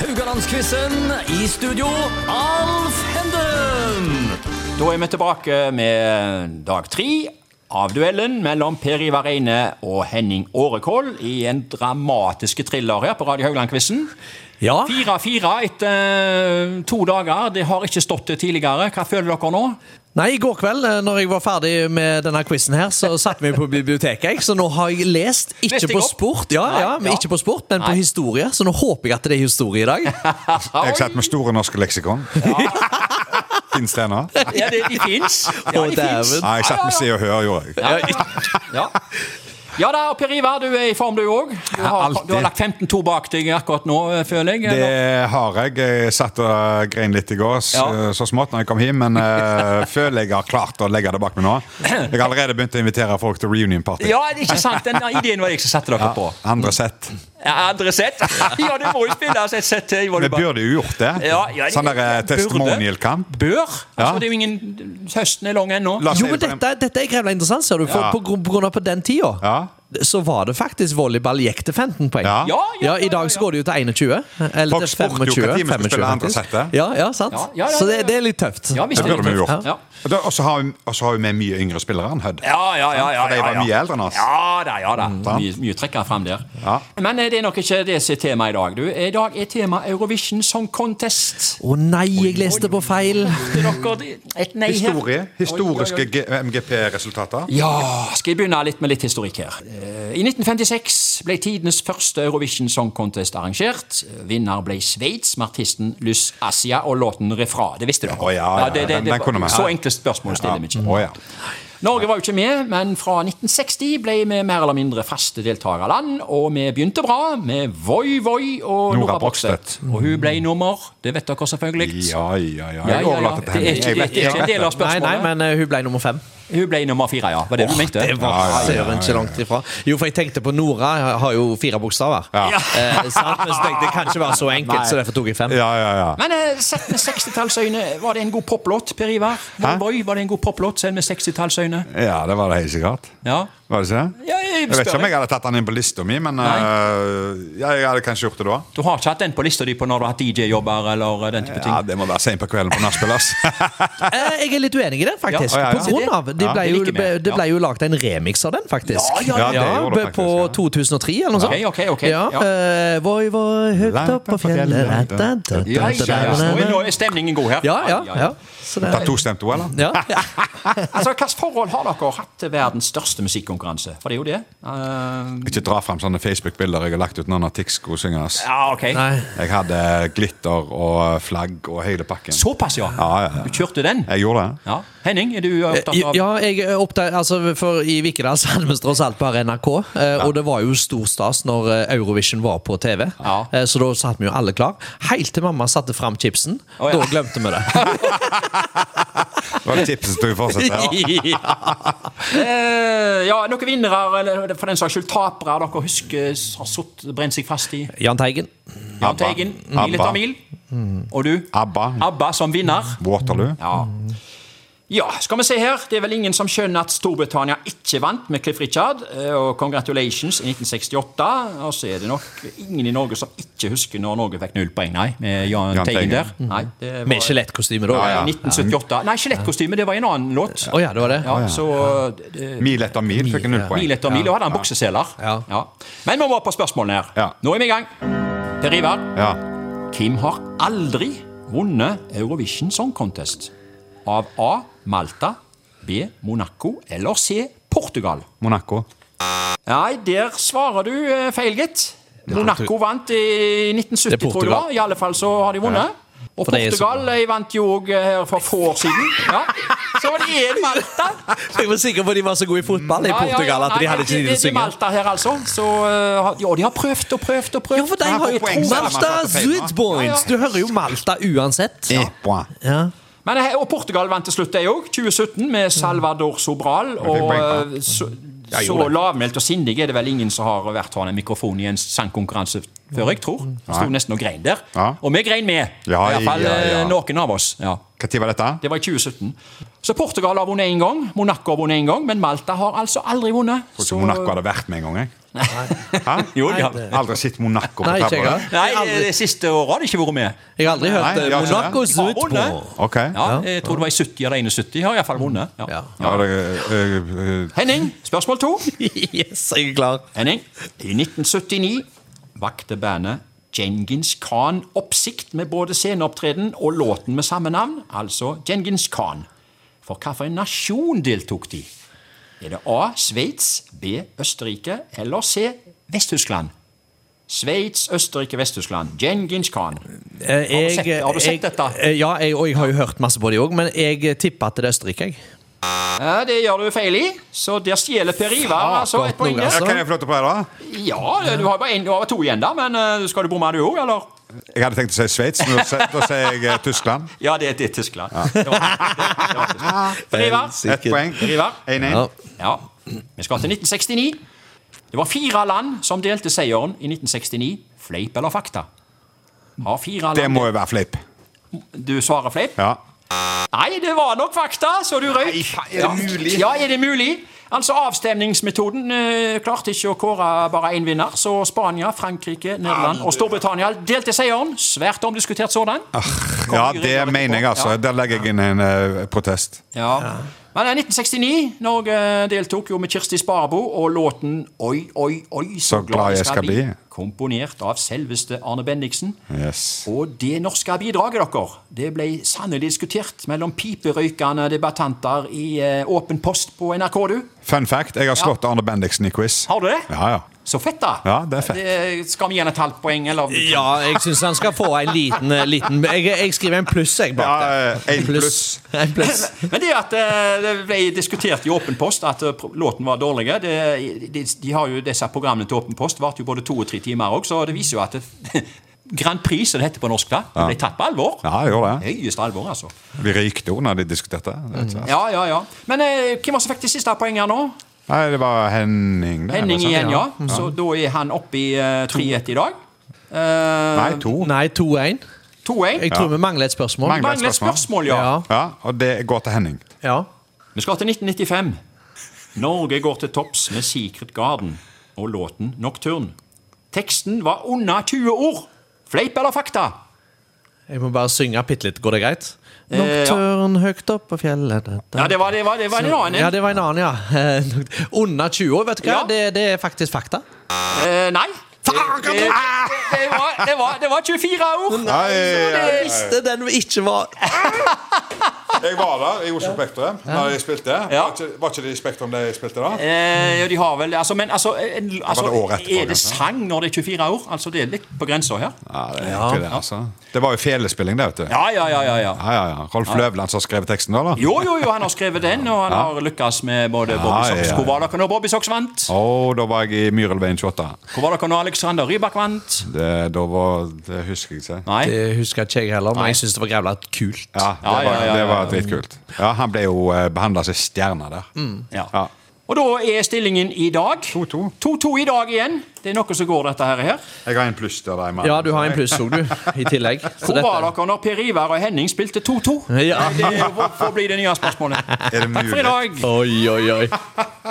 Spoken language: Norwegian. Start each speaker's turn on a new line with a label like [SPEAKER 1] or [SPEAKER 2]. [SPEAKER 1] Rogalandsquizen i studio, Alf Henden!
[SPEAKER 2] Da er vi tilbake med dag tre av duellen mellom Per Ivar Eine og Henning Årekål i en dramatisk thriller her på Radio Haugland-quizen.
[SPEAKER 1] Ja,
[SPEAKER 2] 4-4 etter eh, to dager. Det har ikke stått det tidligere. Hva føler dere nå?
[SPEAKER 3] Nei, i går kveld eh, når jeg var ferdig med denne quizen her, så satt vi på biblioteket, jeg. Så nå har jeg lest, ikke
[SPEAKER 2] Leste jeg
[SPEAKER 3] på
[SPEAKER 2] opp?
[SPEAKER 3] sport, ja,
[SPEAKER 2] Nei,
[SPEAKER 3] ja, men
[SPEAKER 2] ja.
[SPEAKER 3] ikke på sport, men på
[SPEAKER 2] Nei.
[SPEAKER 3] historie. Så nå håper jeg at det er historie i dag.
[SPEAKER 4] Jeg satt med Store norske leksikon. Fins det ennå? Nei,
[SPEAKER 2] Ja, det, de fins. Ja,
[SPEAKER 3] Å,
[SPEAKER 2] de fins.
[SPEAKER 3] dæven.
[SPEAKER 4] jeg satt med Se og Hør, gjorde jeg.
[SPEAKER 2] Ja. ja da, og Per Ivar, du er i form du òg. Du, har-
[SPEAKER 4] alltid.
[SPEAKER 2] du har lagt 15-2 bak deg akkurat nå, føler jeg. eller?
[SPEAKER 4] Det har jeg. Jeg satt og grein litt i går, så,
[SPEAKER 2] Ja.
[SPEAKER 4] så smått når jeg kom hjem, men eh, føler jeg har klart å legge det bak meg nå. Jeg har allerede begynt å invitere folk til reunion-party.
[SPEAKER 2] Ja, det er ikke sant? Den ideen var jeg som satte dere på.
[SPEAKER 4] Andre sett.
[SPEAKER 2] Ja, andre sett? Ja, du må jo spille altså, et sett til.
[SPEAKER 4] Vi burde jo gjort det.
[SPEAKER 2] Ja, ja, det-
[SPEAKER 4] sånn der eh,
[SPEAKER 2] burde.
[SPEAKER 4] testimonial-kamp.
[SPEAKER 2] Bør?
[SPEAKER 4] Ja.
[SPEAKER 2] Altså, det er jo ingen Høsten er lang ennå.
[SPEAKER 4] La oss
[SPEAKER 3] Jo,
[SPEAKER 4] si
[SPEAKER 3] men
[SPEAKER 4] det på den-
[SPEAKER 3] dette, dette er grevla interessant, ser du. For
[SPEAKER 4] Ja.
[SPEAKER 3] på, grunn- på grunn av på den tida,
[SPEAKER 4] Ja.
[SPEAKER 3] så var det faktisk volleyball gikk til 15 poeng.
[SPEAKER 4] Ja.
[SPEAKER 2] Ja, ja,
[SPEAKER 3] I dag så går det jo til 21. Eller
[SPEAKER 4] Folk
[SPEAKER 3] til
[SPEAKER 4] spurte jo hva
[SPEAKER 3] 25.
[SPEAKER 4] tid vi skulle
[SPEAKER 3] 25
[SPEAKER 4] spille andre
[SPEAKER 3] faktisk.
[SPEAKER 4] settet.
[SPEAKER 3] Ja, ja, sant.
[SPEAKER 2] Ja, ja, ja,
[SPEAKER 3] Så det,
[SPEAKER 2] ja.
[SPEAKER 3] det er litt tøft.
[SPEAKER 2] Ja, visst
[SPEAKER 4] Det burde vi jo gjort.
[SPEAKER 2] Ja.
[SPEAKER 4] Og da- Og så har vi- og så har vi med mye yngre spillere enn Hødd.
[SPEAKER 2] Ja, ja, ja, ja,
[SPEAKER 4] For de
[SPEAKER 2] ja,
[SPEAKER 4] var
[SPEAKER 2] ja.
[SPEAKER 4] mye eldre enn oss.
[SPEAKER 2] Ja da, ja da.
[SPEAKER 4] sant?
[SPEAKER 2] Mye, mye trekker frem der.
[SPEAKER 4] Ja.
[SPEAKER 2] Men eh, det er nok ikke det som er temaet i dag. du. I dag er temaet Eurovision Song Contest.
[SPEAKER 3] Å nei, jeg leste på feil.
[SPEAKER 2] Det er dere- Et nei her. Oi,
[SPEAKER 4] Historie,
[SPEAKER 2] oi,
[SPEAKER 4] historiske
[SPEAKER 2] oi.
[SPEAKER 4] G- MGP-resultater.
[SPEAKER 2] Ja, skal jeg begynne litt med litt historikk her. Eh, I 1956 ble tidenes første Eurovision Song Contest arrangert. Vinner ble Sveits med artisten Lys Asia og låten 'Refra'. Det visste dere.
[SPEAKER 4] Å, ja, ja, ja.
[SPEAKER 2] det, det,
[SPEAKER 4] Den-
[SPEAKER 2] det,
[SPEAKER 4] den kunne vi.
[SPEAKER 2] så enkle spørsmål stiller vi ikke.
[SPEAKER 4] Å ja.
[SPEAKER 2] Norge var jo ikke med, men fra 1960 ble vi mer eller mindre faste deltakerland, og vi begynte bra med Voi Voi og
[SPEAKER 4] Nora
[SPEAKER 2] Nora Brokstedt. Og hun ble nummer, det vet dere selvfølgelig.
[SPEAKER 4] Ja, ja, ja.
[SPEAKER 2] Ja,
[SPEAKER 4] Jeg
[SPEAKER 2] ja, ja.
[SPEAKER 4] overlater til
[SPEAKER 2] Det er
[SPEAKER 4] henne.
[SPEAKER 2] ikke,
[SPEAKER 4] Jeg
[SPEAKER 2] det
[SPEAKER 4] vet
[SPEAKER 2] er ikke en del av
[SPEAKER 3] Nei, nei,
[SPEAKER 2] spørsmålet.
[SPEAKER 3] men eh, hun ble nummer fem.
[SPEAKER 2] Hun ble nummer fire, ja. Var det du mente?
[SPEAKER 3] Det var
[SPEAKER 4] Ja, ja, ja, ja,
[SPEAKER 3] søren ikke langt ifra. Jo, for jeg tenkte på Nora har jo fire bokstaver.
[SPEAKER 4] Ja.
[SPEAKER 3] Eh, sant? Men så tenkte jeg det kan ikke være så enkelt,
[SPEAKER 2] Nei.
[SPEAKER 3] så derfor tok jeg fem.
[SPEAKER 4] Ja, ja, ja.
[SPEAKER 2] Men eh, sett med 60-tallsøyne, var det en god poplåt, Per Ivar? Voi
[SPEAKER 4] Hæ?
[SPEAKER 2] Voi, var det en god poplåt, sett med 60-tallsøyne?
[SPEAKER 4] Ja, det var det helt sikkert.
[SPEAKER 2] Ja.
[SPEAKER 4] Var det ikke det?
[SPEAKER 2] Ja, jeg
[SPEAKER 4] jeg vet
[SPEAKER 2] spør
[SPEAKER 4] ikke om
[SPEAKER 2] deg.
[SPEAKER 4] jeg hadde tatt den inn på lista mi, men
[SPEAKER 2] Nei.
[SPEAKER 4] øh, ja, jeg hadde kanskje gjort det da.
[SPEAKER 2] Du har ikke hatt den på lista di på når du har hatt DJ-jobber eller eh, den type ting?
[SPEAKER 4] Ja, Det må være sent på kvelden på nachspiel, ass.
[SPEAKER 3] Eh, jeg er litt uenig i det, faktisk.
[SPEAKER 4] Ja, ja, ja.
[SPEAKER 3] På grunn av, de
[SPEAKER 4] Ja,
[SPEAKER 3] ble
[SPEAKER 2] det
[SPEAKER 3] jo,
[SPEAKER 2] liker vi.
[SPEAKER 3] det ble
[SPEAKER 2] Ja.
[SPEAKER 3] jo laget en remix av den, faktisk.
[SPEAKER 2] Ja, ja, ja.
[SPEAKER 4] Ja, det gjorde det
[SPEAKER 3] På
[SPEAKER 4] faktisk,
[SPEAKER 3] 2003, eller noe sånt.
[SPEAKER 2] Ok, ok, ok,
[SPEAKER 3] Ja,
[SPEAKER 2] ja.
[SPEAKER 3] eh, Voi, voi, høyt
[SPEAKER 4] Langt
[SPEAKER 3] opp på
[SPEAKER 4] opp på fjellet,
[SPEAKER 3] fjellet da, da, da,
[SPEAKER 2] Ja, ja, ja.
[SPEAKER 3] da,
[SPEAKER 2] Nå er- Nå
[SPEAKER 3] da, da.
[SPEAKER 2] er stemningen god her.
[SPEAKER 3] Ja, ja,
[SPEAKER 2] Ai, ai, ai.
[SPEAKER 3] ja. Så det
[SPEAKER 4] Tatt to stemt òg, eller?
[SPEAKER 3] ja. ja.
[SPEAKER 2] Altså, Hvilket forhold har dere hatt til verdens største musikkonkurranse? For det er jo det. Eh,
[SPEAKER 4] Ikke dra fram sånne Facebook-bilder jeg har lagt ut nå når Tixco synger. ass.
[SPEAKER 2] ja, ok.
[SPEAKER 3] Nei.
[SPEAKER 4] Jeg hadde glitter og flagg og hele pakken.
[SPEAKER 2] Såpass, ja.
[SPEAKER 4] Ja, ja, ja.
[SPEAKER 2] Du kjørte den?
[SPEAKER 4] Jeg gjorde det.
[SPEAKER 2] Ja. Henning, er du opptatt av
[SPEAKER 3] Eh, Ja, jeg er opptatt, altså for I Vikedal så hadde vi tross alt bare NRK, eh, og det var jo stor stas når eh, Eurovision var på TV.
[SPEAKER 2] Ja.
[SPEAKER 3] Eh, Så da satt vi jo alle klar. Helt til mamma satte fram chipsen.
[SPEAKER 2] Å, ja.
[SPEAKER 3] Da glemte vi det.
[SPEAKER 4] Det var tipset til å fortsette. Ja.
[SPEAKER 2] Eh, Ja, noen vinnere, eller for den saks skyld tapere, dere husker har sutt, brent seg fast i?
[SPEAKER 3] Jan Teigen.
[SPEAKER 2] Jan Teigen,
[SPEAKER 4] Abba. Mm.
[SPEAKER 2] mil etter mil. Og du?
[SPEAKER 4] ABBA.
[SPEAKER 2] Abba som vinner.
[SPEAKER 4] Waterloo.
[SPEAKER 2] Ja. ja, skal vi se her. Det er vel ingen som skjønner at Storbritannia ikke vant med Cliff Richard eh, og Congratulations i 1968. Og så er det nok ingen i Norge som ikke husker når Norge fikk null poeng, nei. Med Jan,
[SPEAKER 4] Jan
[SPEAKER 2] Teigen
[SPEAKER 4] Teigen.
[SPEAKER 2] der. Nei, det var,
[SPEAKER 3] Med skjelettkostyme, da.
[SPEAKER 2] Ja,
[SPEAKER 4] ja.
[SPEAKER 2] 1978. Nei, skjelettkostyme, det var en annen låt.
[SPEAKER 3] Å ja, det var det.
[SPEAKER 2] Ja, så eh, det-
[SPEAKER 4] Mil etter mil fikk jeg null poeng.
[SPEAKER 2] Mil etter mil. Og hadde han bukseseler.
[SPEAKER 3] Ja.
[SPEAKER 2] Ja. Men vi må på spørsmålene her.
[SPEAKER 4] Ja.
[SPEAKER 2] Nå er vi i gang. Per Ivar,
[SPEAKER 4] Ja.
[SPEAKER 2] hvem har aldri vunnet Eurovision Song Contest? Av A. Malta, B. Monaco eller C. Portugal?
[SPEAKER 4] Monaco.
[SPEAKER 2] Nei, der svarer du eh, feil, gitt. Monaco vant i 1970,
[SPEAKER 3] Det er
[SPEAKER 2] tror jeg det var. I alle fall så har de vunnet. Og
[SPEAKER 3] For det er så
[SPEAKER 2] Portugal eh, vant jo òg her for få år siden. Ja. Så det er Malta.
[SPEAKER 3] Jeg var sikker på at de var så gode i fotball i
[SPEAKER 2] Ja, ja, ja.
[SPEAKER 3] Portugal at
[SPEAKER 2] Nei,
[SPEAKER 3] de hadde ikke tid til å
[SPEAKER 2] Det er
[SPEAKER 3] synge.
[SPEAKER 2] Malta her, altså. Så, eh, har- ja, de har prøvd og prøvd og prøvd.
[SPEAKER 3] Ja, for de har jo
[SPEAKER 4] poeng, så er det
[SPEAKER 3] Malta
[SPEAKER 4] Malta feil, da.
[SPEAKER 3] Zuidboinds! Du hører jo Malta uansett.
[SPEAKER 4] Eh, poeng.
[SPEAKER 3] Ja.
[SPEAKER 2] Men, eh, og Portugal vant til slutt, de òg. 2017
[SPEAKER 4] Mm.
[SPEAKER 2] med Salvador Sobral. Og
[SPEAKER 4] poeng, Mm.
[SPEAKER 2] eh, så,
[SPEAKER 4] Ja, jeg
[SPEAKER 2] så
[SPEAKER 4] gjorde det.
[SPEAKER 2] lavmælt og sindig er det vel ingen som har vært han en mikrofon i en sangkonkurranse før, jeg tror. Han sto nesten og grein der.
[SPEAKER 4] Mm. Ja.
[SPEAKER 2] Og vi grein med.
[SPEAKER 4] Ja,
[SPEAKER 2] Iallfall
[SPEAKER 4] ja, ja.
[SPEAKER 2] eh, noen av oss. Ja.
[SPEAKER 4] Når var dette?
[SPEAKER 2] Det var i 2017. Så Portugal har vunnet én gang, Monaco har vunnet én gang, men Malta har altså aldri vunnet.
[SPEAKER 4] Tror
[SPEAKER 2] Så-
[SPEAKER 4] ikke Monaco hadde vært med en gang, jeg. Hæ?
[SPEAKER 2] Jo, de har-
[SPEAKER 4] Jeg har Aldri sett Monaco på
[SPEAKER 3] Nei, ikke jeg
[SPEAKER 4] tavla.
[SPEAKER 3] heller.
[SPEAKER 2] Nei,
[SPEAKER 3] Jeg har aldri-
[SPEAKER 2] det siste året har de ikke vært med.
[SPEAKER 3] Jeg har aldri hørt
[SPEAKER 4] Nei,
[SPEAKER 3] eh,
[SPEAKER 4] jeg har ikke
[SPEAKER 3] Monacos
[SPEAKER 2] De har
[SPEAKER 3] ut på
[SPEAKER 2] vunnet.
[SPEAKER 4] Ok.
[SPEAKER 2] Ja, jeg tror det var i 70 eller 71. Har iallfall vunnet.
[SPEAKER 3] Ja.
[SPEAKER 2] Ja.
[SPEAKER 4] Ja, det, øh, øh,
[SPEAKER 2] Henning, spørsmål to.
[SPEAKER 3] Yes, jeg er klar.
[SPEAKER 2] Henning, i 1979 vakte bandet Genghis Khan oppsikt med både sceneopptreden og låten med samme navn, altså Genghis Khan. For hvilken nasjon deltok de? Er det A. Sveits, B. Østerrike eller C. Vest-Tyskland? Sveits, Østerrike, Vest-Tyskland. Genghis Khan.
[SPEAKER 3] Eh,
[SPEAKER 2] du sett-
[SPEAKER 3] jeg-
[SPEAKER 2] har du
[SPEAKER 3] jeg-
[SPEAKER 2] sett dette?
[SPEAKER 3] eh, Ja, jeg, og jeg har jo hørt masse på det òg, men jeg eh, tipper at det er Østerrike. jeg.
[SPEAKER 2] Ja, det gjør du feil i, så der stjeler Per Ivar altså
[SPEAKER 3] godt
[SPEAKER 2] et poeng.
[SPEAKER 3] nok,
[SPEAKER 2] der.
[SPEAKER 3] altså.
[SPEAKER 4] Kan jeg få lov til å prøve, da?
[SPEAKER 2] Ja, du har bare en, du har bare to igjen, da, men eh, skal du bomme du òg, eller?
[SPEAKER 4] Jeg hadde tenkt å si Sveits, men da sier- da sier jeg eh, Tyskland.
[SPEAKER 2] Ja, det, det er Tyskland. Det var- det var Tyskland. Per Ivar.
[SPEAKER 4] Ett poeng.
[SPEAKER 2] Riva.
[SPEAKER 4] 1-1.
[SPEAKER 3] Ja.
[SPEAKER 2] Ja. Vi skal til 1969. Det var fire land som delte seieren i 1969. Fleip eller fakta? Har fire
[SPEAKER 4] Det
[SPEAKER 2] land
[SPEAKER 4] må jo være fleip.
[SPEAKER 2] Du svarer fleip?
[SPEAKER 4] Ja.
[SPEAKER 2] Nei, det var nok fakta, så du røyk.
[SPEAKER 4] er det mulig?
[SPEAKER 2] Ja, er det mulig? Altså, Avstemningsmetoden eh, klarte ikke å kåre bare én vinner, så Spania, Frankrike, Nederland og Storbritannia delte seieren. Svært omdiskutert sådan.
[SPEAKER 4] ja, det mener jeg, altså. Der legger jeg inn en eh, protest.
[SPEAKER 2] Ja. Men eh, 1969, Norge eh, deltok jo med Kirsti Sparbo og låten Oi, oi, oi,
[SPEAKER 4] Så glad jeg skal bli.
[SPEAKER 2] komponert av selveste Arne Bendiksen.
[SPEAKER 4] Yes.
[SPEAKER 2] Og det norske bidraget deres det ble sannelig diskutert mellom piperøykende debattanter i eh, Åpen post på NRK, du.
[SPEAKER 4] Fun fact, jeg har slått Arne Bendiksen i quiz.
[SPEAKER 2] Har du det?
[SPEAKER 4] Ja, ja.
[SPEAKER 2] Så fett, da. Eh,
[SPEAKER 4] Ja, det er fett.
[SPEAKER 2] skal vi gi henne et halvt poeng, eller?
[SPEAKER 3] Ja, jeg syns han skal få en liten, eh, liten jeg, jeg skriver en pluss, jeg, bak
[SPEAKER 4] Ja,
[SPEAKER 3] der.
[SPEAKER 4] eh, en
[SPEAKER 3] En pluss.
[SPEAKER 2] Men det at eh, det ble diskutert i Åpen post at eh, pro- låten var dårlig det, de, de har jo Disse programmene til Åpen post varte jo både to og tre timer òg, så det viser jo at det, Grand Prix, som det heter på norsk, da, det ble tatt på alvor.
[SPEAKER 4] Ja, jeg gjorde det.
[SPEAKER 2] Høyeste alvor, altså.
[SPEAKER 4] Vi røykte jo når de diskuterte. rett og
[SPEAKER 3] Mm.
[SPEAKER 4] slett.
[SPEAKER 2] Ja, ja, ja. Men eh, hvem var det som fikk de siste poengene nå?
[SPEAKER 4] Nei, det var Henning. det,
[SPEAKER 2] Henning
[SPEAKER 4] eller sånn,
[SPEAKER 2] igjen, ja. Så da er han oppe i eh, 3-1 i dag. Eh,
[SPEAKER 4] Nei, to.
[SPEAKER 3] Nei, 2-1.
[SPEAKER 2] 2-1.
[SPEAKER 3] Jeg tror vi mangler et spørsmål.
[SPEAKER 4] Mangler-
[SPEAKER 2] Mangler et spørsmål, ja.
[SPEAKER 3] Ja.
[SPEAKER 4] Ja, og det går til Henning.
[SPEAKER 3] ja.
[SPEAKER 2] Vi skal til 1995. Norge går til topps med Secret Garden og låten Nocturne. Teksten var under 20 ord. Fleip eller fakta?
[SPEAKER 3] Jeg må bare synge bitte litt. Går det greit?
[SPEAKER 2] Eh, ja.
[SPEAKER 3] Nocturn høyt opp på fjellet
[SPEAKER 2] Ja, det var, det var, det var en annen. en.
[SPEAKER 3] Ja, det var en annen, ja. Eh, nokt- Under 20 år, vet du hva.
[SPEAKER 2] Ja.
[SPEAKER 3] Det, det er faktisk fakta.
[SPEAKER 2] Eh, nei. Det, det, det, var, det, var, det var 24 ord.
[SPEAKER 4] Nei, jeg,
[SPEAKER 3] visste den ikke var
[SPEAKER 4] eh, var der i Oslo Spektrum da de spilte.
[SPEAKER 2] Ja.
[SPEAKER 4] Var ikke det i Spektrum de spilte da?
[SPEAKER 2] Eh, ja, de har vel altså, Men altså, en, altså
[SPEAKER 4] det året etterpå,
[SPEAKER 2] Er det
[SPEAKER 4] kanskje?
[SPEAKER 2] sang når det er 24 ord? Altså, det er litt på grensa her.
[SPEAKER 4] Ja, det er egentlig det, altså. Det var jo felespilling, det, vet du.
[SPEAKER 2] Ja, ja, ja, ja, ja.
[SPEAKER 4] Ja, ja, ja. Rolf Løvland som har skrevet teksten, da? da?
[SPEAKER 2] Jo, jo, jo, han har skrevet den, og han har lykkes med både Bobby
[SPEAKER 4] Ja,
[SPEAKER 2] Socks.
[SPEAKER 4] ja, ja.
[SPEAKER 2] Hvor var dere når Bobby Socks vant?
[SPEAKER 4] Å, da var jeg i Myrelveien 28.
[SPEAKER 2] Hvor var dere når Alexander Rybak vant?
[SPEAKER 4] Det, da var, det husker jeg ikke.
[SPEAKER 2] Nei.
[SPEAKER 3] Det husker ikke jeg heller, men jeg syns det var jævla kult.
[SPEAKER 4] Ja, det
[SPEAKER 2] Ja, ja,
[SPEAKER 4] var,
[SPEAKER 2] ja,
[SPEAKER 4] det
[SPEAKER 2] ja.
[SPEAKER 4] var dritkult. Ja, han ble jo behandla som stjerne der.
[SPEAKER 2] Ja.
[SPEAKER 4] Ja.
[SPEAKER 2] Og da er stillingen i dag
[SPEAKER 4] 2-2.
[SPEAKER 2] 2-2 i dag igjen. Det er noe som går, dette her. her.
[SPEAKER 4] Jeg har en pluss til deg, mann.
[SPEAKER 3] Ja, du har en pluss òg, du. I tillegg. Så
[SPEAKER 2] Hvor
[SPEAKER 3] dette-
[SPEAKER 2] var dere når Per Ivar og Henning spilte 2-2?
[SPEAKER 3] Ja.
[SPEAKER 2] Det får bli det nye spørsmålet.
[SPEAKER 4] Er det
[SPEAKER 2] Takk for i
[SPEAKER 4] mulig?
[SPEAKER 2] dag.
[SPEAKER 3] Oi, oi, oi.